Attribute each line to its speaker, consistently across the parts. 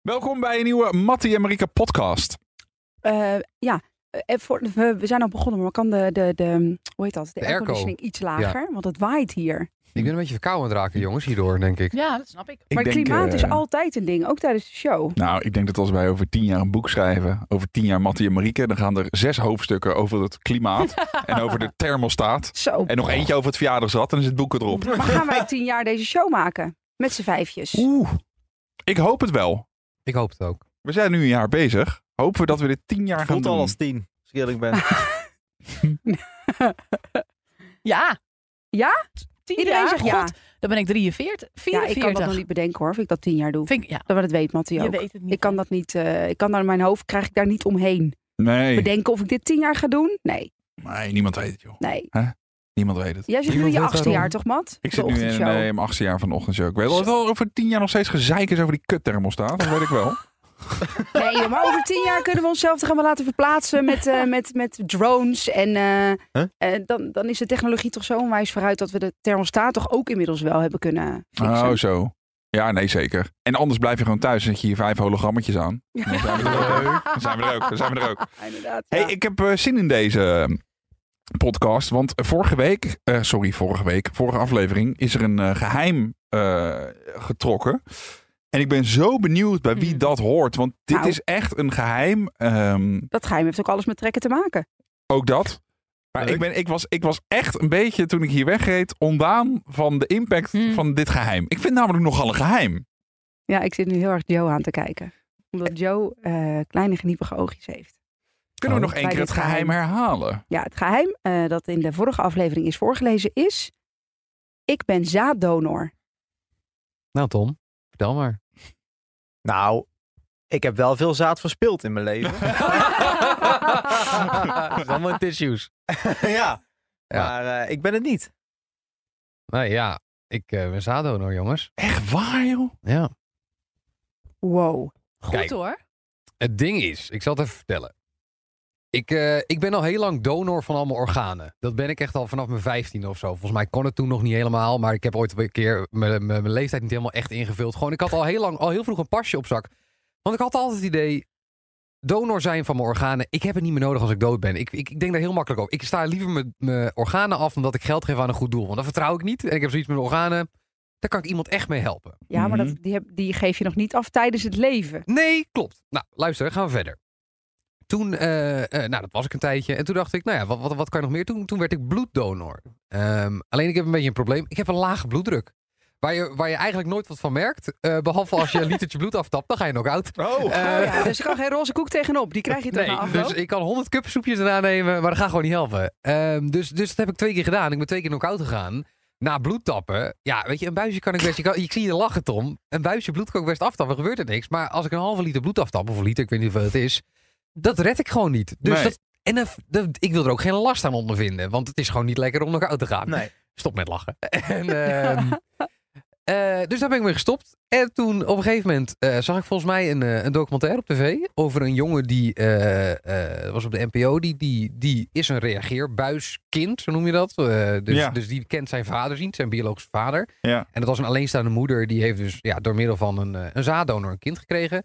Speaker 1: Welkom bij een nieuwe Mattie en Marika podcast.
Speaker 2: Eh, ja, eh, voor, we, we zijn al begonnen, maar kan de, de, de hoe heet dat? De,
Speaker 3: De airco.
Speaker 2: airconditioning iets lager, want het waait hier.
Speaker 3: Ik ben een beetje verkouden aan het raken, jongens, hierdoor, denk ik.
Speaker 4: Ja, dat snap ik.
Speaker 1: Ik
Speaker 2: maar het
Speaker 1: denk,
Speaker 2: klimaat
Speaker 1: eh,
Speaker 2: is altijd een ding, ook tijdens de show.
Speaker 1: Nou, ik denk dat als wij over tien jaar een boek schrijven, over tien jaar Mattie en Marieke, dan gaan er zes hoofdstukken over het klimaat en over de thermostaat.
Speaker 2: Zo,
Speaker 1: En nog eentje over het verjaardagsrad en dan is het boek erop.
Speaker 2: maar gaan wij tien jaar deze show maken? Met z'n vijfjes.
Speaker 1: Oeh, ik hoop het wel.
Speaker 3: Ik hoop het ook.
Speaker 1: We zijn nu een jaar bezig. Hopen we dat we dit tien jaar gaan
Speaker 5: voelt
Speaker 1: doen.
Speaker 5: al als tien, als ik eerlijk ben.
Speaker 4: Ja.
Speaker 2: Ja?
Speaker 4: Tien
Speaker 2: Iedereen
Speaker 4: jaar?
Speaker 2: zegt ja.
Speaker 4: God, dan ben ik 43.
Speaker 2: ja,
Speaker 4: 44.
Speaker 2: ik kan dat nog niet bedenken hoor, of ik dat tien jaar doe.
Speaker 4: Vind ik, ja,
Speaker 2: Dat we dat weet, Mattie
Speaker 4: je
Speaker 2: ook.
Speaker 4: weet het niet.
Speaker 2: Ik kan dat niet, eh, ik kan daar in mijn hoofd, krijg ik daar niet omheen.
Speaker 1: Nee.
Speaker 2: Bedenken of ik dit tien jaar ga doen? Nee,
Speaker 1: nee, niemand weet het joh.
Speaker 2: nee.
Speaker 1: Niemand weet het.
Speaker 2: Jij zit nu in
Speaker 3: Niemand
Speaker 2: je
Speaker 3: weet
Speaker 2: achtste
Speaker 3: waarom.
Speaker 2: jaar toch, Mat?
Speaker 1: Ik
Speaker 2: De
Speaker 1: zit nu in
Speaker 2: ochtendshow.
Speaker 1: eh, mijn achtste jaar van de ochtendshow. Ik weet wel dat het al over tien jaar nog steeds gezeik is over die kutthermostaat. Dat weet ik wel.
Speaker 2: Nee, joh, maar over tien jaar kunnen we onszelf toch helemaal laten verplaatsen met, eh, met, met drones. En eh,
Speaker 5: Huh?
Speaker 2: eh, dan, dan is de technologie toch zo onwijs vooruit dat we de thermostaat toch ook inmiddels wel hebben kunnen fixen.
Speaker 1: Oh, zo. Ja, nee, zeker. En anders blijf je gewoon thuis en zet je hier vijf hologrammetjes aan. Dan zijn we er ook. Dan zijn we er ook. Dan zijn we er ook.
Speaker 2: Ja, inderdaad.
Speaker 1: Hey,
Speaker 2: ja.
Speaker 1: ik heb eh, zin in deze eh, podcast. Want vorige week, eh, sorry, vorige week, vorige aflevering, is er een eh, geheim eh, getrokken. En ik ben zo benieuwd bij wie
Speaker 4: Mm.
Speaker 1: dat hoort. Want dit
Speaker 2: Hmm. Nou.
Speaker 1: is echt een geheim. ehm,
Speaker 2: Dat geheim heeft ook alles met trekken te maken.
Speaker 1: ook dat. Maar
Speaker 5: Leuk.
Speaker 1: ik, ben, ik, was, ik was echt een beetje, toen ik hier wegreed, ondaan van de impact
Speaker 2: Hmm.
Speaker 4: Mm.
Speaker 1: van dit geheim. Ik vind het namelijk nogal een geheim.
Speaker 2: Ja, ik zit nu heel erg Joe aan te kijken. Omdat Joe eh, kleine geniepige oogjes heeft.
Speaker 1: Kunnen we
Speaker 3: Oh.
Speaker 1: nog één
Speaker 2: Bij
Speaker 1: keer
Speaker 2: dit
Speaker 1: het geheim herhalen?
Speaker 2: Ja, het geheim eh, dat in de vorige aflevering is voorgelezen is... Ik ben zaaddonor.
Speaker 3: Nou, Tom, vertel maar.
Speaker 5: nou, ik heb wel veel zaad verspild in mijn leven.
Speaker 3: is allemaal in tissues.
Speaker 5: ja.
Speaker 3: Ja.
Speaker 5: Maar eh, ik ben het niet.
Speaker 3: Nee, ja. Ik eh ben zaaddonor, jongens.
Speaker 1: Echt waar, joh?
Speaker 3: Ja.
Speaker 2: Wow.
Speaker 4: Goed
Speaker 3: Kijk.
Speaker 4: hoor.
Speaker 3: Het ding is, ik zal het even vertellen. Ik, eh, ik ben al heel lang donor van allemaal organen. Dat ben ik echt al vanaf mijn 15 of zo. Volgens mij kon het toen nog niet helemaal. Maar ik heb ooit een keer mijn, mijn, mijn leeftijd niet helemaal echt ingevuld. Gewoon, ik had al heel lang, al heel vroeg een pasje op zak. Want ik had altijd het idee. Donor zijn van mijn organen. Ik heb het niet meer nodig als ik dood ben. Ik, ik, ik denk daar heel makkelijk over. Ik sta liever mijn, mijn organen af omdat ik geld geef aan een goed doel. Want dat vertrouw ik niet. En ik heb zoiets met mijn organen. Daar kan ik iemand echt mee helpen.
Speaker 2: Ja, maar dat,
Speaker 1: Mhm.
Speaker 2: die, heb, die geef je nog niet af tijdens het leven.
Speaker 3: Nee, klopt. Nou, luister, gaan we verder. Toen, eh, eh, nou, dat was ik een tijdje. En toen dacht ik, nou ja, wat, wat, wat kan je nog meer doen? Toen werd ik bloeddonor. Ehm, alleen ik heb een beetje een probleem. Ik heb een lage bloeddruk. Waar je, waar je eigenlijk nooit wat van merkt. eh, behalve als je een litertje bloed aftapt, dan ga je nog out.
Speaker 1: Oh.
Speaker 3: Eh,
Speaker 2: Oh ja, dus er kan geen roze koek tegenop. Die krijg je toch na
Speaker 3: nee,
Speaker 2: afloop?
Speaker 3: dus ik kan 100 cupsoepjes erna nemen, maar dat gaat gewoon niet helpen. Ehm, dus, dus dat heb ik twee keer gedaan. Ik ben twee keer knock-out gegaan. Na bloedtappen, ja, weet je, een buisje kan ik best... Ik, kan- ik zie je lachen, Tom. Een buisje bloed kan ik best aftappen, gebeurt er niks. Maar als ik een halve liter bloed aftap, of een liter, ik weet niet hoeveel het is... Dat red ik gewoon niet. Dus
Speaker 1: Nee.
Speaker 3: dat, en dat- dat- ik wil er ook geen last aan ondervinden. Want het is gewoon niet lekker om knock-out te gaan.
Speaker 5: Nee.
Speaker 3: Stop met lachen. En, ehm, eh, dus daar ben ik mee gestopt. En toen op een gegeven moment eh, zag ik volgens mij een, eh, een documentaire op tv over een jongen die eh, eh, dat was op de NPO. Die, die, die is een reageerbuiskind, zo noem je dat. Eh, dus,
Speaker 1: Ja.
Speaker 3: dus die kent zijn vader niet, zijn biologische vader.
Speaker 1: Ja.
Speaker 3: En dat was een alleenstaande moeder die heeft dus ja, door middel van een, eh, een zaaddonor een kind gekregen.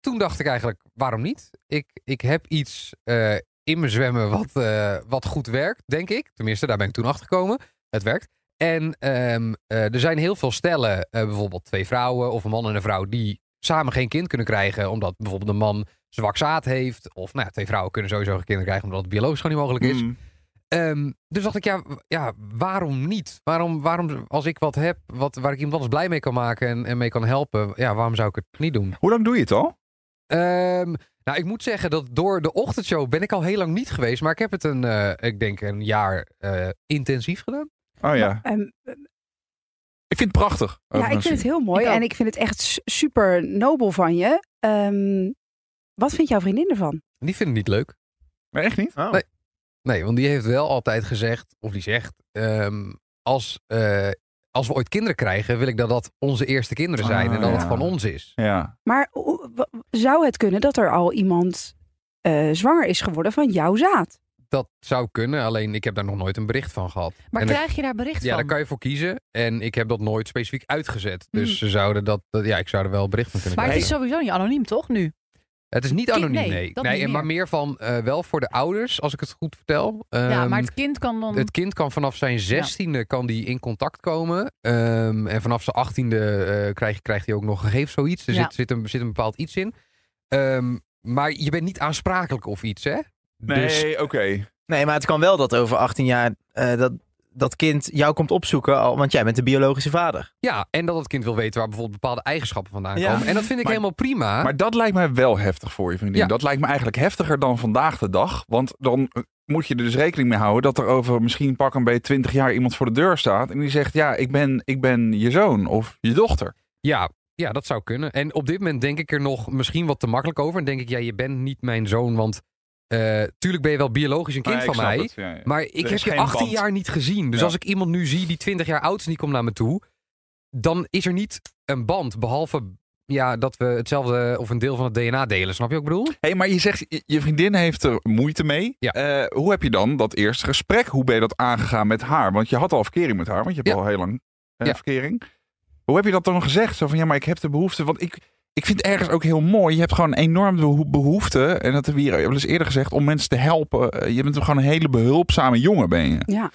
Speaker 3: Toen dacht ik eigenlijk, waarom niet? Ik, ik heb iets eh, in me zwemmen wat, eh, wat goed werkt, denk ik. Tenminste, daar ben ik toen achter gekomen. Het werkt. En ehm, eh, er zijn heel veel stellen, eh, bijvoorbeeld twee vrouwen of een man en een vrouw, die samen geen kind kunnen krijgen. Omdat bijvoorbeeld de man zwak zaad heeft. Of nou ja, twee vrouwen kunnen sowieso geen kinderen krijgen omdat het biologisch gewoon niet mogelijk is.
Speaker 1: Mm.
Speaker 3: Ehm, dus dacht ik, ja, w- ja waarom niet? Waarom, waarom, als ik wat heb wat, waar ik iemand anders blij mee kan maken en, en mee kan helpen, ja, waarom zou ik het niet doen?
Speaker 1: Hoe lang doe je het al?
Speaker 3: Ehm, nou, ik moet zeggen dat door de ochtendshow ben ik al heel lang niet geweest, maar ik heb het een, eh, ik denk een jaar eh, intensief gedaan.
Speaker 1: Oh ja.
Speaker 2: Ehm,
Speaker 1: Ik vind het prachtig.
Speaker 2: ja, ik
Speaker 1: overigens.
Speaker 2: vind het heel mooi
Speaker 3: Ik ook.
Speaker 2: en ik vind het echt su- super nobel van je. Ehm, wat vindt jouw vriendin ervan?
Speaker 3: Die vinden het niet leuk.
Speaker 1: Maar echt niet?
Speaker 5: Oh.
Speaker 3: Nee. Nee, want die heeft wel altijd gezegd, of die zegt, ehm, als, eh, als we ooit kinderen krijgen, wil ik dat dat onze eerste kinderen zijn
Speaker 1: Ah,
Speaker 3: en dat
Speaker 1: ja.
Speaker 3: het van ons is.
Speaker 1: Ja.
Speaker 2: Maar hoe- w- zou het kunnen dat er al iemand eh, zwanger is geworden van jouw zaad?
Speaker 3: dat zou kunnen, alleen ik heb daar nog nooit een bericht van gehad.
Speaker 4: Maar
Speaker 3: En dan-
Speaker 4: krijg je daar bericht
Speaker 3: Ja, daar
Speaker 4: van? Hmm.
Speaker 3: kan je voor kiezen. En ik heb dat nooit specifiek uitgezet. Dus ze zouden dat, dat- ja, ik zou er wel bericht van kunnen
Speaker 4: Maar het
Speaker 3: krijgen.
Speaker 4: is sowieso niet anoniem, toch? Nu.
Speaker 3: Het is niet
Speaker 4: Kind-
Speaker 3: anoniem, nee.
Speaker 4: nee,
Speaker 3: nee.
Speaker 4: dat niet
Speaker 3: en maar
Speaker 4: meer.
Speaker 3: meer van eh, wel voor de ouders, als ik het goed vertel.
Speaker 4: ja,
Speaker 3: Ehm,
Speaker 4: maar het kind kan dan...
Speaker 3: het kind kan vanaf zijn zestiende kan die in contact komen. Ehm, en vanaf zijn achttiende eh krijg- krijgt hij ook nog gegevens, zoiets. Er
Speaker 4: Ja.
Speaker 3: zit, zit, een, zit een bepaald iets in. Ehm, maar je bent niet aansprakelijk of iets, hè? Dus,
Speaker 1: Nee, oké.
Speaker 5: Nee, maar het kan wel dat over 18 jaar eh, dat, dat kind jou komt opzoeken, al, want jij bent de biologische vader.
Speaker 3: ja, en dat het kind wil weten waar bijvoorbeeld bepaalde eigenschappen vandaan
Speaker 5: Ja.
Speaker 3: komen. En dat vind ik
Speaker 1: Maar-
Speaker 3: helemaal prima.
Speaker 1: Maar dat lijkt mij wel heftig voor je vriendin.
Speaker 3: Ja.
Speaker 1: Dat lijkt me eigenlijk heftiger dan vandaag de dag. Want dan eh, moet je er dus rekening mee houden dat er over misschien pak een beetje 20 jaar iemand voor de deur staat. En die zegt, ja, ik ben, ik ben je zoon of je dochter.
Speaker 3: Ja, ja, dat zou kunnen. En op dit moment denk ik er nog misschien wat te makkelijk over. En denk ik, ja, je bent niet mijn zoon, want eh, tuurlijk ben je wel biologisch een kind van mij. Maar ik
Speaker 1: Er
Speaker 3: heb
Speaker 1: is
Speaker 3: je
Speaker 1: geen
Speaker 3: 18
Speaker 1: band.
Speaker 3: jaar niet gezien. Dus
Speaker 1: Ja.
Speaker 3: als ik iemand nu zie die 20 jaar oud is en die komt naar me toe, dan is er niet een band. Behalve ja, dat we hetzelfde of een deel van het DNA delen. Snap je wat ik bedoel?
Speaker 1: Hé, maar je zegt, je- je vriendin heeft er moeite mee.
Speaker 3: Ja.
Speaker 1: Eh, hoe heb je dan dat eerste gesprek, hoe ben je dat aangegaan met haar? Want je had al verkering met haar, want je hebt
Speaker 3: Ja.
Speaker 1: al heel lang eh,
Speaker 3: Ja.
Speaker 1: verkering. Hoe heb je dat dan gezegd? Zo van, ja, maar ik heb de behoefte, want ik, ik vind ergens ook heel mooi. Je hebt gewoon enorm de beho- behoefte, en dat hebben we hier wel eens eerder gezegd, om mensen te helpen. Eh, Je bent gewoon een hele behulpzame jongen, ben je.
Speaker 2: Ja.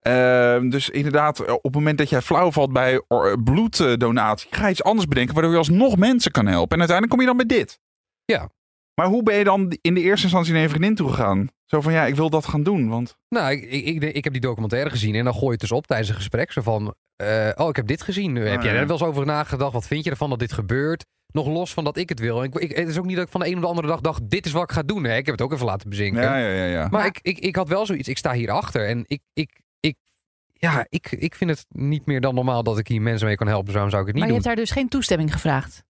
Speaker 1: Ehm, dus inderdaad, eh, op het moment dat jij flauw valt bij or- eh, bloeddonatie, ga je iets anders bedenken waardoor je alsnog mensen kan helpen. En uiteindelijk kom je dan met dit.
Speaker 3: Ja.
Speaker 1: Maar hoe ben je dan in de eerste instantie naar je vriendin toegegaan? Zo van ja, ik wil dat gaan doen. Want
Speaker 3: Nou, ik, ik, ik, denk- ik heb die documentaire gezien en dan gooi je het dus op tijdens een gesprek. Zo van, eh, oh, ik heb dit gezien. Heb jij
Speaker 1: ja.
Speaker 3: er wel eens over nagedacht? Wat vind je ervan dat dit gebeurt? Nog los van dat ik het wil. En ik, ik- het is ook niet dat ik van de een op de andere dag dacht, dit is wat ik ga doen. Hè? Ik heb het ook even laten bezinken.
Speaker 1: ja, ja, ja, ja.
Speaker 3: Maar ik, ik, ik had wel zoiets, ik sta hierachter. En ik, ik, ik, ja, ik, ik vind het niet meer dan normaal dat ik hier mensen mee kan helpen. Dus Waarom zou ik het niet
Speaker 4: Maar je
Speaker 3: doen?
Speaker 4: hebt daar dus geen toestemming gevraagd.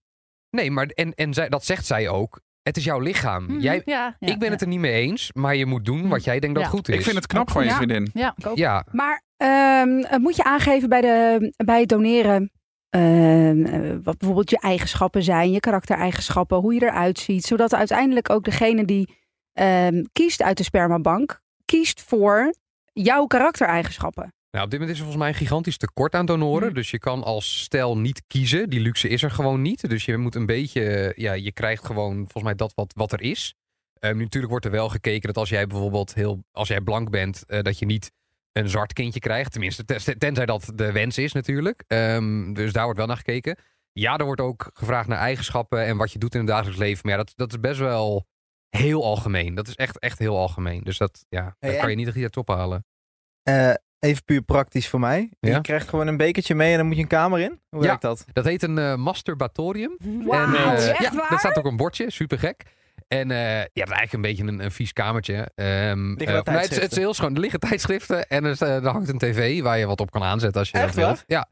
Speaker 3: Nee, maar en, en zij, dat zegt zij ook. Het is jouw lichaam.
Speaker 4: Mhm,
Speaker 3: Mm, Jij,
Speaker 4: ja, ja,
Speaker 3: ik ben
Speaker 4: ja. Mhm.
Speaker 3: het er niet mee eens, maar je moet doen wat jij denkt dat
Speaker 4: Ja.
Speaker 3: goed is.
Speaker 1: ik vind het knap van je
Speaker 2: Ja.
Speaker 1: vriendin.
Speaker 4: Ja.
Speaker 3: Ja,
Speaker 2: Maar ehm, eh, moet je aangeven bij, de, bij het doneren ehm, eh, wat bijvoorbeeld je eigenschappen zijn, je karaktereigenschappen, hoe je eruit ziet, zodat uiteindelijk ook degene die ehm, kiest uit de spermabank, kiest voor jouw karaktereigenschappen.
Speaker 3: Nou, op dit moment is er volgens mij een gigantisch tekort aan donoren.
Speaker 5: Mm.
Speaker 3: Dus je kan als stel niet kiezen. Die luxe is er gewoon niet. Dus je moet een beetje, eh, ja, je krijgt gewoon volgens mij dat wat, wat er is. Ehm, nu, natuurlijk wordt er wel gekeken dat als jij bijvoorbeeld heel, als jij blank bent, eh, dat je niet een zwart kindje krijgt. Tenminste, ten- tenzij dat de wens is natuurlijk. Ehm, dus daar wordt wel naar gekeken. Ja, er wordt ook gevraagd naar eigenschappen en wat je doet in het dagelijks leven. Maar ja, dat, dat is best wel heel algemeen. Dat is echt, echt heel algemeen. Dus dat, ja,
Speaker 5: Hey,
Speaker 3: dat kan
Speaker 5: en-
Speaker 3: je niet echt hier top halen.
Speaker 5: Eh, even puur praktisch voor mij.
Speaker 3: Ja?
Speaker 5: Je krijgt gewoon een bekertje mee en dan moet je een kamer in. Hoe
Speaker 3: Ja.
Speaker 5: werkt dat?
Speaker 3: Dat heet een eh, masturbatorium.
Speaker 2: Wauw,
Speaker 3: En, eh,
Speaker 2: echt
Speaker 3: ja,
Speaker 2: waar?
Speaker 3: dat staat ook op een bordje, super gek. En eh, ja, dat is eigenlijk een beetje een, een vies kamertje. Ehm, eh,
Speaker 5: tijdschriften?
Speaker 3: nee, het, is- het is heel schoon. Er liggen tijdschriften en er, sta- er hangt een tv waar je wat op kan aanzetten als je
Speaker 5: Echt
Speaker 3: dat wilt. Ja.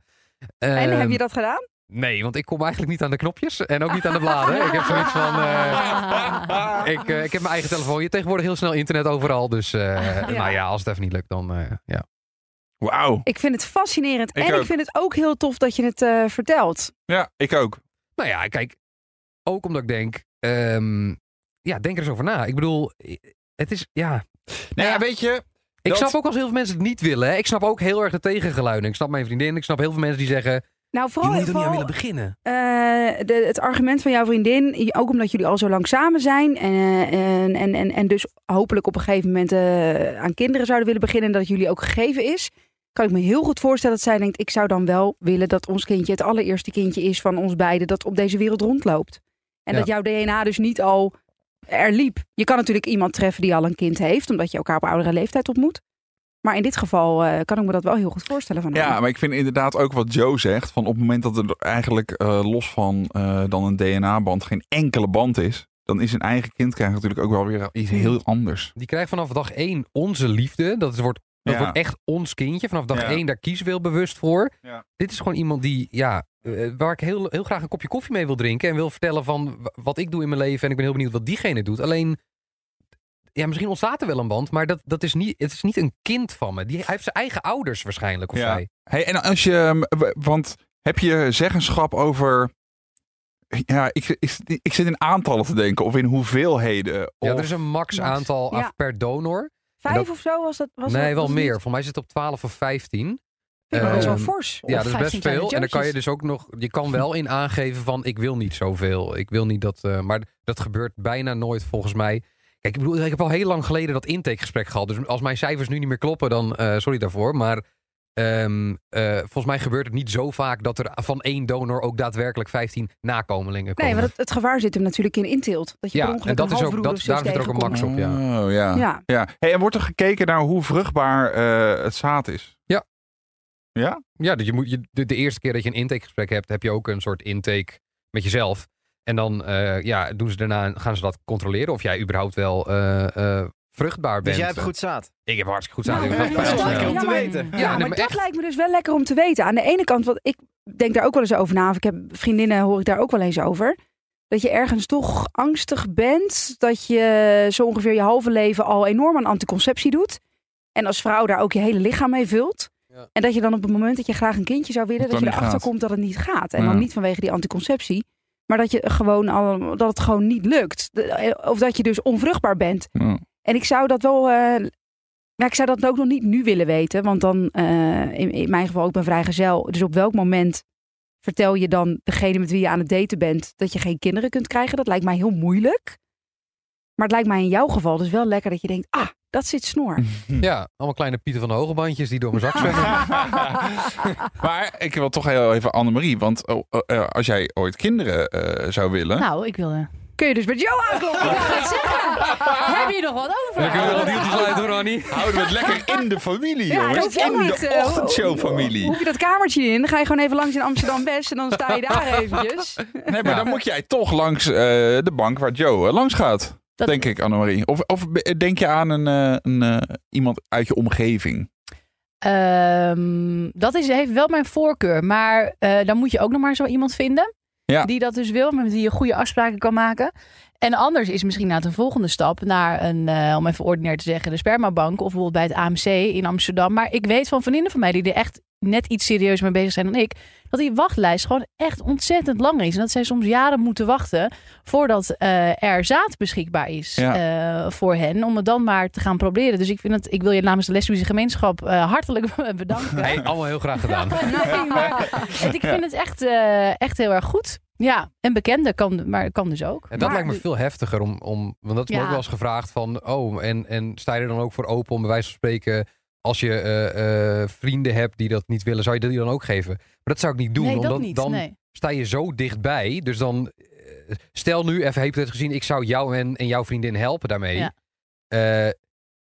Speaker 2: en heb
Speaker 3: Ehm,
Speaker 2: je dat gedaan?
Speaker 3: Nee, want ik kom eigenlijk niet aan de knopjes en ook niet aan de bladen. ik heb zoiets van... eh, ik, eh, ik heb mijn eigen telefoon. Je hebt tegenwoordig heel snel internet overal. Dus eh, nou ja, als het even niet lukt, dan eh, ja.
Speaker 1: Wauw.
Speaker 2: Ik vind het fascinerend
Speaker 1: Ik
Speaker 2: en
Speaker 1: ook.
Speaker 2: ik vind het ook heel tof dat je het eh, vertelt.
Speaker 1: Ja, ik ook.
Speaker 3: Nou ja, kijk, ook omdat ik denk, ehm, ja, denk er eens over na. Ik bedoel, het is, ja.
Speaker 1: Nou ja, weet je.
Speaker 3: Ik
Speaker 1: dat-
Speaker 3: snap ook als heel veel mensen het niet willen. Hè. Ik snap ook heel erg de tegengeluiden. Ik snap mijn vriendin, ik snap heel veel mensen die zeggen,
Speaker 2: Nou,
Speaker 3: je
Speaker 2: vooral,
Speaker 3: moet er niet aan
Speaker 2: vooral,
Speaker 3: willen beginnen.
Speaker 2: eh, de- het argument van jouw vriendin, je- ook omdat jullie al zo lang samen zijn en, eh, en, en, en, en dus hopelijk op een gegeven moment eh, aan kinderen zouden willen beginnen, dat het jullie ook gegeven is, kan ik me heel goed voorstellen dat zij denkt, ik zou dan wel willen dat ons kindje het allereerste kindje is van ons beiden dat op deze wereld rondloopt. En
Speaker 3: Ja.
Speaker 2: dat jouw DNA dus niet al er liep. Je kan natuurlijk iemand treffen die al een kind heeft, omdat je elkaar op oudere leeftijd ontmoet. Maar in dit geval eh, kan ik me dat wel heel goed voorstellen van oh, haar.
Speaker 1: Ja, maar ik vind inderdaad ook wat Joe zegt. Van op het moment dat er eigenlijk eh, los van eh, dan een DNA-band geen enkele band is. Dan is een eigen kind krijgen natuurlijk ook wel weer iets heel anders.
Speaker 3: Die krijgt vanaf dag één onze liefde. Dat, is, wordt, dat
Speaker 1: Ja.
Speaker 3: wordt echt ons kindje. Vanaf dag
Speaker 1: Ja.
Speaker 3: één, daar kiezen we heel bewust voor.
Speaker 1: Ja.
Speaker 3: Dit is gewoon iemand die, ja, eh, waar ik heel, heel graag een kopje koffie mee wil drinken. En wil vertellen van w- wat ik doe in mijn leven. En ik ben heel benieuwd wat diegene doet. Alleen, ja, misschien ontstaat er wel een band. Maar dat, dat is niet, het is niet een kind van me. Die, hij heeft zijn eigen ouders waarschijnlijk, of
Speaker 1: Ja.
Speaker 3: zij.
Speaker 1: Hey, en als je, ehm, want heb je zeggenschap over. Ja, ik, ik, ik zit in aantallen te denken of in hoeveelheden. Of,
Speaker 3: Ja, er is een max
Speaker 2: Max.
Speaker 3: aantal
Speaker 2: Ja.
Speaker 3: af per donor.
Speaker 2: Vijf
Speaker 3: dat-
Speaker 2: of zo was dat? Was
Speaker 3: nee,
Speaker 2: dat-
Speaker 3: wel
Speaker 2: was
Speaker 3: meer.
Speaker 2: het niet?
Speaker 3: Voor mij zit het op 12 of 15.
Speaker 2: Vind ik nog best wel
Speaker 3: Ehm,
Speaker 2: fors.
Speaker 3: Ja, dat is
Speaker 4: 15
Speaker 3: best
Speaker 4: kleine
Speaker 3: veel. En dan kan je
Speaker 4: jootjes.
Speaker 3: dus ook nog, je kan wel in aangeven van ik wil niet zoveel. Ik wil niet dat, eh, maar dat gebeurt bijna nooit volgens mij. Kijk, ik bedoel, ik heb al heel lang geleden dat intakegesprek gehad. Dus als mijn cijfers nu niet meer kloppen, dan eh, sorry daarvoor. Maar ehm, eh, volgens mij gebeurt het niet zo vaak dat er van één donor ook daadwerkelijk 15 nakomelingen komen.
Speaker 2: Nee, want het, het gevaar zit hem natuurlijk in inteelt. Dat je
Speaker 3: Ja,
Speaker 2: per ongeluk
Speaker 3: en dat
Speaker 2: een
Speaker 3: is ook-
Speaker 2: halfbroer
Speaker 3: dat-
Speaker 2: of zus
Speaker 3: daarom zit er ook een
Speaker 2: tegenkomt.
Speaker 3: max op. ja.
Speaker 1: Oh, ja. ja.
Speaker 2: Ja,
Speaker 1: Hey, en wordt er gekeken naar hoe vruchtbaar eh, het zaad is?
Speaker 3: Ja, dat je moet, je, de, de eerste keer dat je een intakegesprek hebt, heb je ook een soort intake met jezelf. En dan eh, ja, doen ze daarna, gaan ze dat controleren of jij überhaupt wel eh, eh, vruchtbaar bent.
Speaker 5: Dus jij hebt goed zaad.
Speaker 3: Ik heb hartstikke goed
Speaker 2: Nou,
Speaker 3: aan.
Speaker 2: ja, dat is
Speaker 5: wel
Speaker 2: lekker
Speaker 5: om
Speaker 2: Ja,
Speaker 5: te
Speaker 2: maar-
Speaker 5: weten.
Speaker 2: Ja,
Speaker 4: Ja,
Speaker 3: nee,
Speaker 2: maar
Speaker 3: maar
Speaker 2: dat
Speaker 3: echt.
Speaker 2: lijkt me dus wel lekker om te weten. Aan de ene kant, want ik denk daar ook wel eens over na. Of ik heb vriendinnen, hoor ik daar ook wel eens over. Dat je ergens toch angstig bent. Dat je zo ongeveer je halve leven al enorm aan anticonceptie doet. En als vrouw daar ook je hele lichaam mee vult.
Speaker 3: Ja.
Speaker 2: En dat je dan op het moment dat je graag een kindje zou willen,
Speaker 1: Dat
Speaker 2: dat je
Speaker 1: dan niet
Speaker 2: erachter
Speaker 1: gaat.
Speaker 2: komt dat het niet gaat. En
Speaker 1: Ja.
Speaker 2: dan niet vanwege die anticonceptie. Maar dat, je gewoon al, dat het gewoon niet lukt. De- Of dat je dus onvruchtbaar bent.
Speaker 1: Ja.
Speaker 2: En ik zou dat wel. eh, nou, ik zou dat ook nog niet nu willen weten. Want dan, eh, in, in mijn geval, ik ben vrijgezel. Dus op welk moment vertel je dan degene met wie je aan het daten bent dat je geen kinderen kunt krijgen? Dat lijkt mij heel moeilijk. Maar het lijkt mij in jouw geval dus wel lekker dat je denkt: ah, dat zit snor.
Speaker 3: Ja, allemaal kleine Pieter van de Hogebandjes die door mijn zak zwemmen.
Speaker 1: maar ik wil toch heel even Annemarie, want oh, oh, eh, als jij ooit kinderen eh, zou willen...
Speaker 4: Nou, ik wilde...
Speaker 2: Kun je dus met jou
Speaker 4: Ik
Speaker 2: aankloppen?
Speaker 4: ga het zeggen. Heb je nog wat over?
Speaker 2: Nou,
Speaker 3: Dan kunnen we nog deeltjes sluiten, hoor, Annie.
Speaker 1: Houden we het lekker in de familie,
Speaker 2: eh, Ja, dat
Speaker 1: jongens.
Speaker 2: hoef je
Speaker 1: In
Speaker 2: ook niet,
Speaker 1: de
Speaker 2: eh,
Speaker 1: ochtendshow-familie.
Speaker 2: Hoef je dat kamertje in? Dan ga je gewoon even langs in Amsterdam-West en dan sta je daar eventjes.
Speaker 1: Nee, maar
Speaker 3: Ja.
Speaker 1: dan moet jij toch langs eh, de bank waar Joe eh, langs gaat.
Speaker 4: Dat-
Speaker 1: Denk ik, Annemarie. Of, of be- denk je aan een, eh, een, eh, iemand uit je omgeving?
Speaker 4: Ehm, dat is, heeft wel mijn voorkeur. Maar eh, dan moet je ook nog maar zo iemand vinden.
Speaker 1: Ja.
Speaker 4: Die dat dus wil, met wie je goede afspraken kan maken. En anders is misschien na een volgende stap naar een, eh, om even ordinair te zeggen, de spermabank. Of bijvoorbeeld bij het AMC in Amsterdam. Maar ik weet van vriendinnen van mij die er echt net iets serieus mee bezig zijn dan ik. Dat die wachtlijst gewoon echt ontzettend lang is. En dat zij soms jaren moeten wachten voordat eh, er zaad beschikbaar is
Speaker 1: Ja.
Speaker 4: eh, voor hen. Om het dan maar te gaan proberen. Dus ik, vind het, ik wil je namens de lesbische gemeenschap eh, hartelijk bedanken.
Speaker 3: Nee, allemaal heel graag gedaan.
Speaker 4: Nee, maar het- ik vind het echt, eh, echt heel erg goed. Ja, en bekende kan, maar kan dus ook.
Speaker 3: En dat
Speaker 4: Maar-
Speaker 3: lijkt me veel heftiger, om, om, want dat is me
Speaker 4: Ja.
Speaker 3: ook wel eens gevraagd van... oh, en, en sta je er dan ook voor open om bij wijze van spreken... als je eh, eh, vrienden hebt die dat niet willen, zou je die dan ook geven? Maar dat zou ik niet doen,
Speaker 4: nee, dat
Speaker 3: omdat
Speaker 4: niet.
Speaker 3: dan
Speaker 4: nee.
Speaker 3: sta je zo dichtbij. Dus dan, eh, stel nu, even heeft het gezien... ik zou jou en, en jouw vriendin helpen daarmee.
Speaker 4: Ja.
Speaker 3: Eh,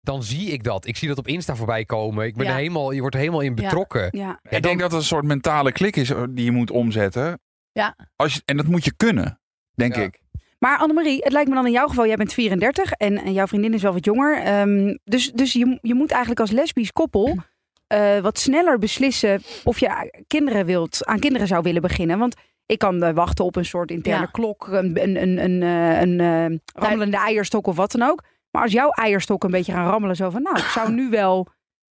Speaker 3: dan zie ik dat. Ik zie dat op Insta voorbij komen. Ik ben
Speaker 4: Ja.
Speaker 3: er helemaal, je wordt er helemaal in
Speaker 4: Ja.
Speaker 3: betrokken.
Speaker 2: Ja.
Speaker 1: ik denk dat het een soort mentale klik is eh, die je moet omzetten.
Speaker 4: Ja.
Speaker 1: Als je, en dat moet je kunnen, denk
Speaker 3: Ja.
Speaker 1: ik.
Speaker 2: Maar Annemarie, het lijkt me dan in jouw geval, jij bent 34 en, en jouw vriendin is wel wat jonger. Ehm, dus dus je, je moet eigenlijk als lesbisch koppel eh, wat sneller beslissen of je kinderen wilt, aan kinderen zou willen beginnen. Want ik kan eh, wachten op een soort interne
Speaker 4: Ja.
Speaker 2: klok, een, een, een, een, eh, een eh, rammelende eierstok of wat dan ook. Maar als jouw eierstok een beetje gaan rammelen, zo van nou, ik zou nu wel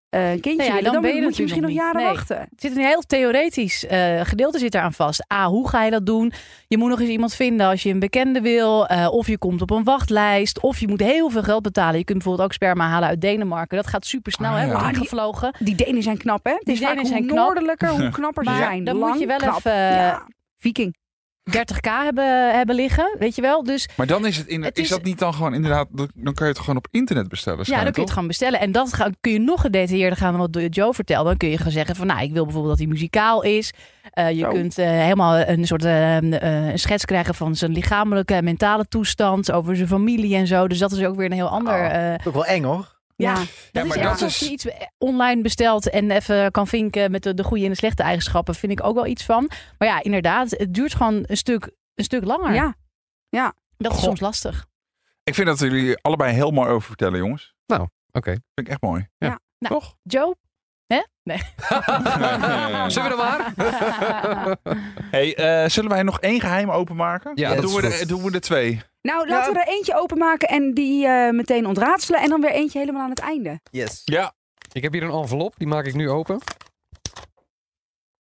Speaker 2: eh, een kindje
Speaker 4: Nou ja,
Speaker 2: willen,
Speaker 4: dan
Speaker 2: dan,
Speaker 4: ben je
Speaker 2: moet je
Speaker 4: natuurlijk
Speaker 2: misschien nog
Speaker 4: nog niet.
Speaker 2: jaren
Speaker 4: Nee.
Speaker 2: wachten.
Speaker 4: Er zit een heel theoretisch eh, gedeelte zit eraan vast. A, hoe ga je dat doen? Je moet nog eens iemand vinden als je een bekende wil. eh, of je komt op een wachtlijst. Of je moet heel veel geld betalen. Je kunt bijvoorbeeld ook sperma halen uit Denemarken. Dat gaat super snel,
Speaker 1: Ah,
Speaker 4: hè?
Speaker 1: ja.
Speaker 4: Wordt
Speaker 2: Ah, die-
Speaker 4: aangevlogen.
Speaker 2: Die Denen zijn knap, hè? Het
Speaker 4: Die
Speaker 2: is vaak
Speaker 4: Denen
Speaker 2: hoe
Speaker 4: zijn knap.
Speaker 2: noordelijker, hoe knapper ze
Speaker 4: Maar
Speaker 2: zijn.
Speaker 4: dan moet
Speaker 2: Lang,
Speaker 4: je wel
Speaker 2: knap.
Speaker 4: even eh,
Speaker 2: Ja, Viking.
Speaker 4: 30k hebben, hebben liggen, weet je wel. Dus
Speaker 1: Maar dan is het, in,
Speaker 4: Het
Speaker 1: is,
Speaker 4: is-
Speaker 1: dat niet dan gewoon inderdaad, dan kun je het gewoon op internet bestellen.
Speaker 4: Ja, dan kun je het
Speaker 1: toch?
Speaker 4: gewoon bestellen. En dat ga- kun je nog gedetailleerder gaan dan wat door Joe vertelt. Dan kun je gaan zeggen van, nou, ik wil bijvoorbeeld dat hij muzikaal is. Eh, je
Speaker 2: Zo.
Speaker 4: kunt eh, helemaal een soort eh, eh, een schets krijgen van zijn lichamelijke en mentale toestand. Over zijn familie en zo. Dus dat is ook weer een heel ander...
Speaker 5: Oh.
Speaker 4: eh,
Speaker 5: Ook wel eng hoor.
Speaker 4: ja,
Speaker 2: Ja.
Speaker 4: dat
Speaker 1: maar
Speaker 4: is
Speaker 1: dat
Speaker 4: echt als
Speaker 1: is-
Speaker 4: je iets online bestelt en even kan vinken met de, de goede en de slechte eigenschappen. Vind ik ook wel iets van. Maar ja, inderdaad, het duurt gewoon een stuk, een stuk langer.
Speaker 2: Ja.
Speaker 4: Dat is
Speaker 1: Goh.
Speaker 4: soms lastig.
Speaker 1: Ik vind dat jullie allebei heel mooi over vertellen, jongens.
Speaker 3: Nou, Oké.
Speaker 1: Vind ik echt mooi.
Speaker 3: Ja.
Speaker 4: Nou.
Speaker 1: Toch?
Speaker 4: Joe? Hè? Nee.
Speaker 3: Zullen we dan maar?
Speaker 1: Hey, eh, zullen wij nog één geheim openmaken?
Speaker 3: Ja,
Speaker 1: Dan
Speaker 3: dat
Speaker 1: doen,
Speaker 3: is
Speaker 1: we
Speaker 3: goed.
Speaker 1: er, doen we er twee.
Speaker 2: Nou, laten we er eentje openmaken en die eh, meteen ontraadselen. En dan weer eentje helemaal aan het einde.
Speaker 5: Yes.
Speaker 1: Ja.
Speaker 3: Ik heb hier een envelop, die maak ik nu open.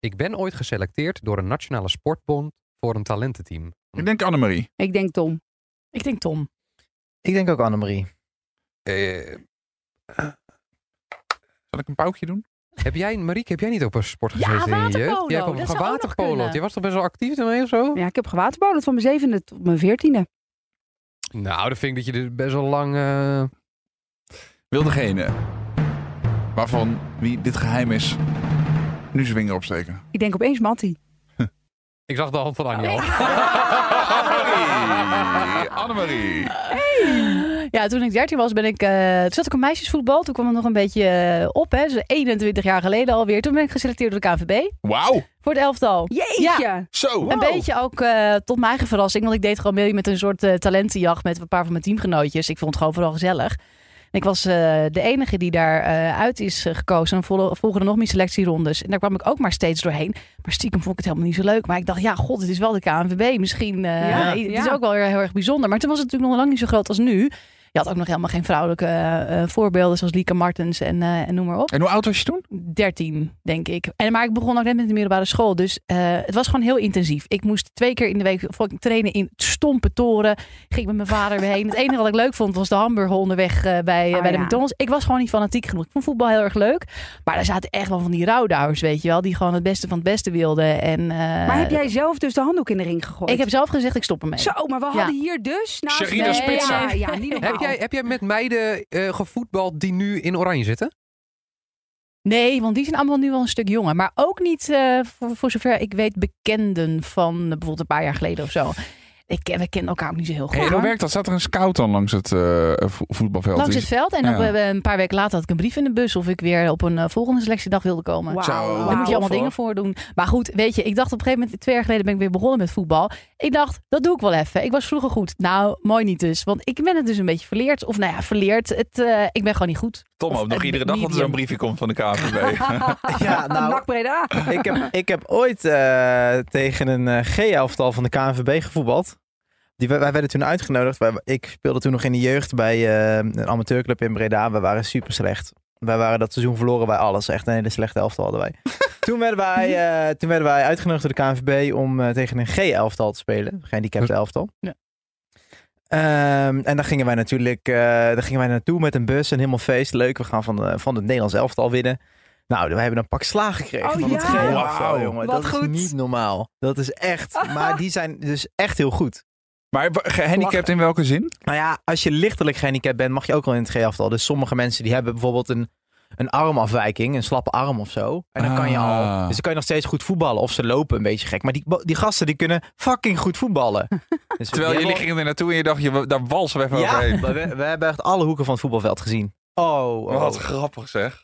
Speaker 3: Ik ben ooit geselecteerd door een nationale sportbond voor een talententeam.
Speaker 1: Ik denk Annemarie.
Speaker 2: Ik denk Tom.
Speaker 4: Ik denk Tom.
Speaker 5: Ik denk ook Annemarie.
Speaker 3: Eh,
Speaker 1: Zal ik een paukje doen?
Speaker 3: Heb jij, Marieke, heb jij niet op een sport
Speaker 4: Ja,
Speaker 3: gezeten in je jeugd?
Speaker 4: waterpolo.
Speaker 3: Jij hebt op
Speaker 4: Dat
Speaker 3: een
Speaker 4: zou ook nog
Speaker 3: waterpolo.
Speaker 4: kunnen.
Speaker 3: Je was toch best wel actief ermee of zo?
Speaker 2: Ja, ik heb gewaterbolen van mijn zevende tot mijn veertiende.
Speaker 3: Nou, dan vind ik dat je er best wel lang... eh,
Speaker 1: Wil degene waarvan wie dit geheim is, nu zijn vinger opsteken.
Speaker 2: Ik denk opeens Mattie.
Speaker 3: Ik zag de hand van Anja. al.
Speaker 1: Annemarie! Annemarie!
Speaker 4: Ja, toen ik 13 was, ben ik, eh, toen zat ik op meisjesvoetbal. Toen kwam het nog een beetje eh, op, hè. Dus 21 jaar geleden alweer. Toen ben ik geselecteerd door de KNVB
Speaker 1: Wauw!
Speaker 4: voor het elftal.
Speaker 2: Jeetje!
Speaker 1: Zo!
Speaker 4: Een beetje ook eh, tot mijn eigen verrassing, want ik deed gewoon mee met een soort eh, talentenjacht met een paar van mijn teamgenootjes. Ik vond het gewoon vooral gezellig. En ik was eh, de enige die daar eh, uit is eh, gekozen. En vol- volgen er nog meer selectierondes. En daar kwam ik ook maar steeds doorheen. Maar stiekem vond ik het helemaal niet zo leuk. Maar ik dacht, ja, god, het is wel de KNVB. Misschien eh
Speaker 2: Ja,
Speaker 4: het is
Speaker 2: ja.
Speaker 4: ook wel weer heel erg bijzonder. Maar toen was het natuurlijk nog lang niet zo groot als nu. Je had ook nog helemaal geen vrouwelijke eh, eh, voorbeelden zoals Lieke Martens en, eh, en noem maar op.
Speaker 1: En hoe oud was je toen?
Speaker 4: 13, denk ik. En, maar ik begon ook net met de middelbare school. Dus eh, het was gewoon heel intensief. Ik moest twee keer in de week fucking trainen in stompe toren. Ging ik met mijn vader weer heen. Het enige wat ik leuk vond was de hamburger onderweg eh, bij, eh,
Speaker 2: Ah,
Speaker 4: bij de
Speaker 2: ja.
Speaker 4: McDonald's. Ik was gewoon niet fanatiek genoeg. Ik vond voetbal heel erg leuk. Maar daar zaten echt wel van die rouwdouwers, weet je wel. Die gewoon het beste van het beste wilden. En, eh,
Speaker 2: Maar heb jij zelf dus de handdoek in de ring gegooid?
Speaker 4: Ik heb zelf gezegd, ik stop ermee.
Speaker 2: Zo, maar we hadden hier dus... Nou,
Speaker 1: Sherina
Speaker 4: Nee,
Speaker 1: Spitsen.
Speaker 2: Ja, ja, niet normaal.
Speaker 3: Heb jij, heb jij met meiden eh gevoetbald die nu in oranje zitten?
Speaker 4: Nee, want die zijn allemaal nu wel een stuk jonger. Maar ook niet, eh, voor, voor zover ik weet, bekenden van eh, bijvoorbeeld een paar jaar geleden of zo. Ik, ken- we kennen elkaar ook niet zo heel goed.
Speaker 1: Hey, hoe
Speaker 4: hoor.
Speaker 1: werkt dat? Staat er een scout dan langs het eh, vo- voetbalveld?
Speaker 4: Langs
Speaker 1: Die-
Speaker 4: het veld. En
Speaker 1: Ja.
Speaker 4: dan hebben we een paar weken later had ik een brief in de bus of ik weer op een eh, volgende selectiedag wilde komen.
Speaker 2: Wauw,
Speaker 1: Zo. Dan
Speaker 4: Daar
Speaker 2: wauw.
Speaker 4: moet je allemaal
Speaker 1: Tof,
Speaker 4: dingen voor doen. Maar goed, weet je, ik dacht op een gegeven moment, twee jaar geleden ben ik weer begonnen met voetbal. Ik dacht, dat doe ik wel even. Ik was vroeger goed. Nou, mooi niet dus. Want ik ben het dus een beetje verleerd. Of nou ja, verleerd. Het, eh, ik ben gewoon niet goed.
Speaker 6: Tom
Speaker 4: Of
Speaker 6: hoopt nog
Speaker 4: een
Speaker 6: iedere dag dat er
Speaker 4: medium.
Speaker 6: zo'n briefje komt van de KVB.
Speaker 5: Ja, nou,
Speaker 2: Nak Breda.
Speaker 5: ik heb, ik heb ooit eh, tegen een eh, G-elftal van de KNVB gevoetbald. Die, wij, wij werden toen uitgenodigd. Wij- ik speelde toen nog in de jeugd bij eh, een amateurclub in Breda. We waren super slecht. Wij waren dat seizoen verloren bij alles. Echt een hele slechte elftal hadden wij. toen, werden wij eh, toen werden wij uitgenodigd door de KNVB om eh, tegen een G-elftal te spelen. Gehandicapt elftal.
Speaker 4: Ja.
Speaker 5: Ehm, en daar gingen wij natuurlijk eh, daar gingen wij naartoe met een bus en helemaal feest. Leuk, we gaan van, de- van het Nederlands elftal winnen. Nou, we hebben een pak slaag gekregen
Speaker 2: Oh
Speaker 5: van het
Speaker 2: ja?
Speaker 5: G
Speaker 1: Wauw.
Speaker 5: elftal, jongen.
Speaker 2: Wat
Speaker 5: dat
Speaker 2: goed.
Speaker 5: is niet normaal. Dat is echt. Maar die zijn dus echt heel goed.
Speaker 1: Maar w- gehandicapt in welke zin?
Speaker 5: Nou ja, als je lichtelijk gehandicapt bent, mag je ook al in het G-elftal. Dus sommige mensen die hebben bijvoorbeeld een, een armafwijking, een slappe arm of zo. En dan kan je al.
Speaker 1: Ah.
Speaker 5: Dus dan kan je nog steeds goed voetballen. Of ze lopen een beetje gek. Maar die, bo- die gasten die kunnen fucking goed voetballen. Dus
Speaker 1: Terwijl
Speaker 5: die
Speaker 1: jullie
Speaker 5: hebben-
Speaker 1: gingen er naartoe en je dacht, je, daar walsen we even
Speaker 5: Ja,
Speaker 1: overheen.
Speaker 5: maar we, we hebben echt alle hoeken van het voetbalveld gezien. Oh, oh.
Speaker 1: Wat grappig zeg.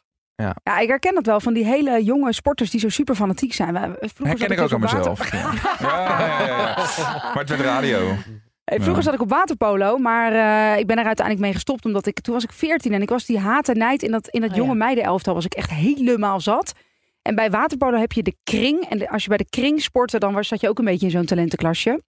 Speaker 2: Ja, ik herken dat wel van die hele jonge sporters die zo super fanatiek zijn. Wij- Vroeger zat
Speaker 1: Herken ik ook
Speaker 2: dus
Speaker 1: aan
Speaker 2: op
Speaker 1: mezelf.
Speaker 2: water-
Speaker 1: Ja. Ja, ja, ja, ja. Maar het werd radio.
Speaker 2: Eh, Vroeger
Speaker 1: Ja.
Speaker 2: zat ik op waterpolo, maar eh, ik ben er uiteindelijk mee gestopt. Omdat ik, toen was ik 14 en ik was die haat en nijd in dat, in dat
Speaker 4: Oh,
Speaker 2: jonge
Speaker 4: ja.
Speaker 2: meidenelftal was ik echt helemaal zat. En bij waterpolo heb je de kring. En de- als je bij de kring sportte, dan was, zat je ook een beetje in zo'n talentenklasje.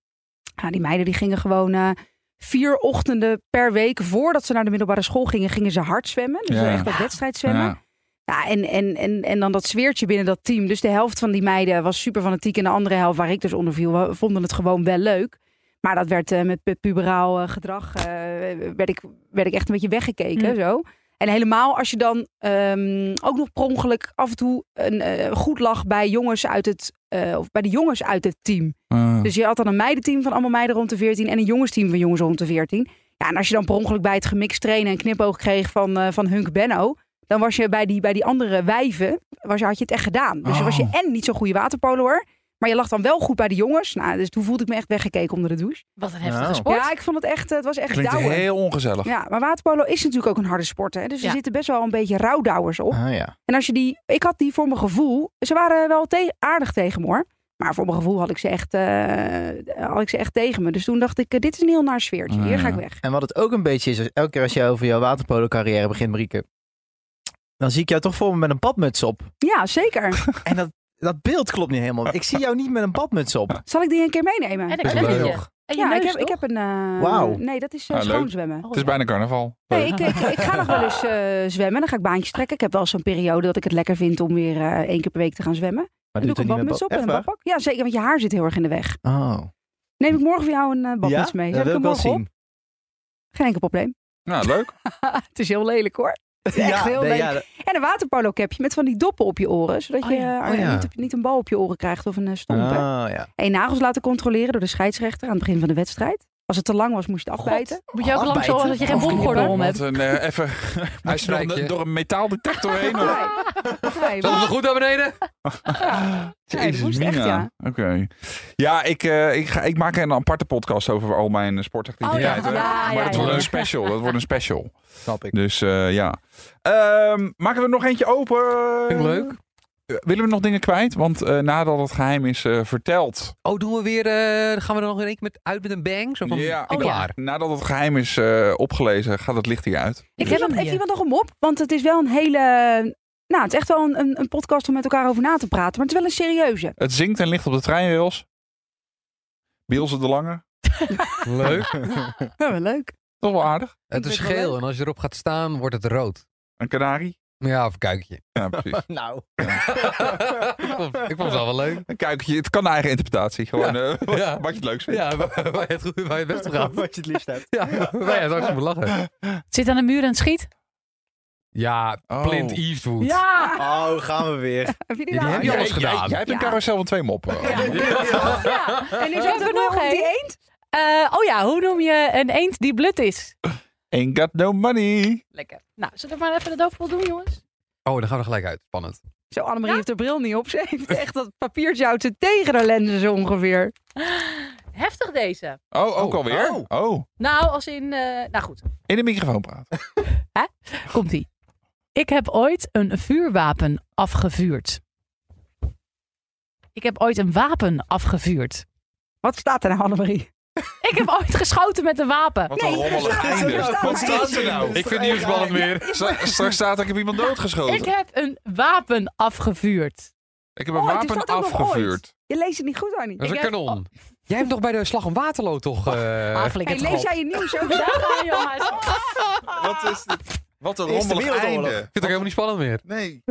Speaker 2: Nou, die meiden die gingen gewoon eh, vier ochtenden per week, voordat ze naar de middelbare school gingen, gingen ze hard zwemmen. Dus
Speaker 1: Ja.
Speaker 2: echt dat wedstrijd zwemmen.
Speaker 1: Ja.
Speaker 2: Ja, en, en, en, en dan dat zweertje binnen dat team. Dus de helft van die meiden was super fanatiek. En de andere helft, waar ik dus onder viel, wa- vonden het gewoon wel leuk. Maar dat werd eh, met pu- puberaal eh, gedrag, eh, werd, ik, werd ik echt een beetje weggekeken.
Speaker 4: Mm.
Speaker 2: Zo. En helemaal als je dan ehm, ook nog per ongeluk af en toe een, eh, goed lag bij jongens uit het, eh, of bij de jongens uit het team.
Speaker 1: Ah.
Speaker 2: Dus je had dan een meidenteam van allemaal meiden rond de 14 en een jongensteam van jongens rond de 14. Ja, en als je dan per ongeluk bij het gemixt trainen een knipoog kreeg van, eh, van Hunk Benno, dan was je bij die, bij die andere wijven, was, je- had je het echt gedaan. Dus dan was je
Speaker 1: Oh.
Speaker 2: en niet zo'n goede waterpoloer, maar je lag dan wel goed bij de jongens. Nou, dus toen voelde ik me echt weggekeken onder de douche.
Speaker 4: Wat een
Speaker 5: heftige
Speaker 4: heftige
Speaker 5: Nou.
Speaker 4: sport.
Speaker 2: Ja, ik vond het echt, eh, het was echt
Speaker 1: Klinkt
Speaker 2: douwen.
Speaker 1: heel ongezellig.
Speaker 2: Ja, maar waterpolo is natuurlijk ook een harde sport, hè? dus er
Speaker 4: Ja.
Speaker 2: zitten best wel een beetje rouwdouwers op.
Speaker 5: Ah, ja.
Speaker 2: En als je die, ik had die voor mijn gevoel, ze waren wel te- aardig tegen me hoor. Maar voor mijn gevoel had ik, ze echt, eh, had ik ze echt tegen me. Dus toen dacht ik, eh, dit is een heel naar sfeertje.
Speaker 1: Ah,
Speaker 2: Hier ga
Speaker 1: ja.
Speaker 2: ik weg.
Speaker 5: En wat het ook een beetje is, is elke keer als jij over jouw waterpolo carrière begint, Marieke, dan zie ik jou toch voor me met een badmuts op.
Speaker 2: Ja, zeker.
Speaker 5: En dat, dat beeld klopt niet helemaal. Ik zie jou niet met een badmuts op.
Speaker 2: Zal ik die een keer meenemen?
Speaker 4: En een
Speaker 1: Best wel
Speaker 4: knelletje.
Speaker 5: leuk.
Speaker 4: En je
Speaker 2: ja, ik
Speaker 4: neus,
Speaker 2: heb, ik
Speaker 4: toch? Oh,
Speaker 2: heb een... eh,
Speaker 5: Wauw.
Speaker 2: Nee, dat is eh,
Speaker 1: Ah, leuk.
Speaker 2: schoonzwemmen.
Speaker 1: Het is bijna carnaval.
Speaker 2: Nee, ik, ik, ik ga nog wel eens eh, zwemmen. Dan ga ik baantjes trekken. Ik heb wel zo'n periode dat ik het lekker vind om weer eh, één keer per week te gaan zwemmen.
Speaker 5: Maar
Speaker 2: Dan doe ik een badmuts op en een badpak. Ja, zeker, want je haar zit heel erg in de weg.
Speaker 5: Oh.
Speaker 2: Neem ik morgen voor jou een eh, badmuts mee. Zet
Speaker 5: dat
Speaker 2: ik
Speaker 5: wil
Speaker 2: hem
Speaker 5: ik
Speaker 2: morgen
Speaker 5: wel
Speaker 2: op?
Speaker 5: zien.
Speaker 2: Geen enkel probleem.
Speaker 1: Nou, leuk.
Speaker 2: het is heel lelijk hoor. Echt heel
Speaker 5: nee,
Speaker 2: leuk.
Speaker 5: ja, dat-
Speaker 2: En een waterpolo capje met van die doppen op je oren. Zodat
Speaker 4: Oh
Speaker 2: je
Speaker 4: ja.
Speaker 2: eh,
Speaker 3: Oh ja.
Speaker 2: niet, niet een bal op je oren krijgt of een eh, stomp. hè.
Speaker 5: Ah, ja.
Speaker 2: En je nagels laten controleren door de scheidsrechter aan het begin van de wedstrijd. Als het te lang was, moest je het afbijten.
Speaker 4: Moet je ook lang
Speaker 5: Afbijten.
Speaker 4: zo dat je geen
Speaker 5: Of
Speaker 4: bomgordel om
Speaker 1: Want
Speaker 4: hebt.
Speaker 1: een, eh, even moet je door een-
Speaker 3: Uitstrijkje.
Speaker 1: door een metaaldetector heen. of-
Speaker 2: Nee. Nee,
Speaker 3: Zat het
Speaker 2: maar-
Speaker 3: nog goed naar beneden?
Speaker 2: Nee, dat moest
Speaker 1: Mina.
Speaker 2: echt, ja.
Speaker 1: Oké. Ja, ik, eh, ik, ga, ik maak een aparte podcast over al mijn eh, sportactiviteiten.
Speaker 4: Oh ja. Ja,
Speaker 1: maar
Speaker 4: ja,
Speaker 1: dat
Speaker 4: ja,
Speaker 1: wordt
Speaker 4: ja.
Speaker 1: een special. Dat wordt een special.
Speaker 5: Snap ik.
Speaker 1: Dus eh, ja. Ehm, maken we er nog eentje open?
Speaker 3: Vind ik leuk.
Speaker 1: Eh, Willen we nog dingen kwijt? Want eh, nadat het geheim is eh, verteld.
Speaker 3: Oh, doen we weer... eh, gaan we er nog in één keer met, uit met een bang? Zo van,
Speaker 1: Ja.
Speaker 3: en
Speaker 4: Oh ja.
Speaker 3: klaar.
Speaker 1: Nadat het geheim is eh, opgelezen, gaat het licht hier uit.
Speaker 2: Ik heb nog- heeft iemand nog een mop? Want het is wel een hele... Nou, het is echt wel een, een, een podcast om met elkaar over na te praten. Maar het is wel een serieuze.
Speaker 1: Het zingt en ligt op de treinrails. Bielse de Lange.
Speaker 3: Leuk.
Speaker 2: Ja, wel leuk.
Speaker 1: Toch wel aardig.
Speaker 3: Het
Speaker 2: Ik
Speaker 3: is
Speaker 2: vind het wel
Speaker 3: geel
Speaker 2: leuk.
Speaker 3: en als je erop gaat staan, wordt het rood.
Speaker 1: Een kanarie.
Speaker 3: Ja, of een kuikje.
Speaker 1: Ja, precies.
Speaker 5: Nou.
Speaker 3: ik vond ik vond het wel wel leuk.
Speaker 1: Een kuikentje. Het kan naar eigen interpretatie. Gewoon eh, wat,
Speaker 3: Ja.
Speaker 1: wat je het leukst vindt.
Speaker 3: Ja, waar je het, goed- waar je het best op gaat.
Speaker 5: Wat je het liefst hebt.
Speaker 3: Ja, waar je het hardst om moet lachen.
Speaker 4: Zit aan de muur en het schiet.
Speaker 3: Ja,
Speaker 1: Oh.
Speaker 3: Clint Eastwood.
Speaker 4: Ja!
Speaker 5: Oh, gaan we weer.
Speaker 2: Heb je die
Speaker 3: Ja, die
Speaker 2: nou?
Speaker 3: heb je
Speaker 1: Jij-
Speaker 3: alles
Speaker 1: jij-
Speaker 3: gedaan.
Speaker 1: Jij, hebt een
Speaker 2: Ja.
Speaker 1: carousel van twee moppen.
Speaker 4: Ja.
Speaker 2: En nu
Speaker 4: Ik
Speaker 2: zat
Speaker 4: heb
Speaker 2: er
Speaker 4: er
Speaker 2: nog
Speaker 4: nog
Speaker 2: op die
Speaker 4: één.
Speaker 2: eend.
Speaker 4: Eh, oh ja, hoe noem je een eend die blut is?
Speaker 1: Ain't got no money.
Speaker 4: Lekker. Nou, zullen we maar even dat overal doen, jongens?
Speaker 3: Oh, dan gaan we er gelijk uit. Spannend.
Speaker 2: Zo, Annemarie heeft haar bril niet op. Ze heeft echt dat papiertje houdt ze tegen de lenzen zo ongeveer.
Speaker 4: Heftig deze.
Speaker 1: Oh, ook
Speaker 3: Oh,
Speaker 1: alweer?
Speaker 3: oh.
Speaker 1: oh.
Speaker 4: Nou, als in... eh, nou goed,
Speaker 1: In de microfoon praten.
Speaker 4: komt-ie. Ik heb ooit een vuurwapen afgevuurd. Ik heb ooit een wapen afgevuurd.
Speaker 2: Wat staat er nou, Annemarie?
Speaker 4: Ik heb ooit geschoten met een wapen.
Speaker 1: Wat
Speaker 2: Nee,
Speaker 1: een rommelig
Speaker 2: er staat-
Speaker 1: einde.
Speaker 2: er staat-
Speaker 1: Wat staat er nou?
Speaker 3: Ik vind het niet spannend meer.
Speaker 1: Stra- Straks staat ik heb iemand doodgeschoten.
Speaker 4: Ik heb een wapen afgevuurd.
Speaker 1: Ik heb een
Speaker 2: Ooit, is
Speaker 1: wapen
Speaker 2: dat ook nog
Speaker 1: afgevuurd.
Speaker 2: Je leest het niet goed, Annie.
Speaker 3: Dat is
Speaker 4: Ik
Speaker 3: een
Speaker 4: heb-
Speaker 3: kanon. Jij hebt toch bij de slag om Waterloo toch... eh
Speaker 4: Hafelijk
Speaker 2: Hey,
Speaker 4: het
Speaker 2: lees
Speaker 4: lees
Speaker 2: jij je nieuws ook? zo?
Speaker 1: Wat, is dit? Wat een
Speaker 5: Eerste
Speaker 1: rommelig
Speaker 5: Wereldoorlog.
Speaker 1: einde.
Speaker 3: Ik vind het ook helemaal niet spannend meer.
Speaker 1: Nee.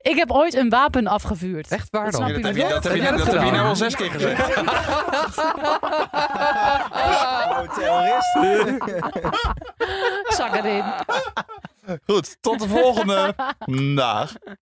Speaker 4: Ik heb ooit een wapen afgevuurd.
Speaker 3: Echt waar
Speaker 4: Dat
Speaker 3: dan?
Speaker 4: snap
Speaker 1: dat
Speaker 4: je
Speaker 1: heb je,
Speaker 4: wel?
Speaker 1: dat heb je,
Speaker 3: Heb jij
Speaker 1: dat
Speaker 3: dat
Speaker 1: heb je
Speaker 3: gedaan?
Speaker 1: nou al zes keer gezegd.
Speaker 5: Oh, terrorist.
Speaker 4: Zak erin.
Speaker 1: Goed, tot de volgende. Dag.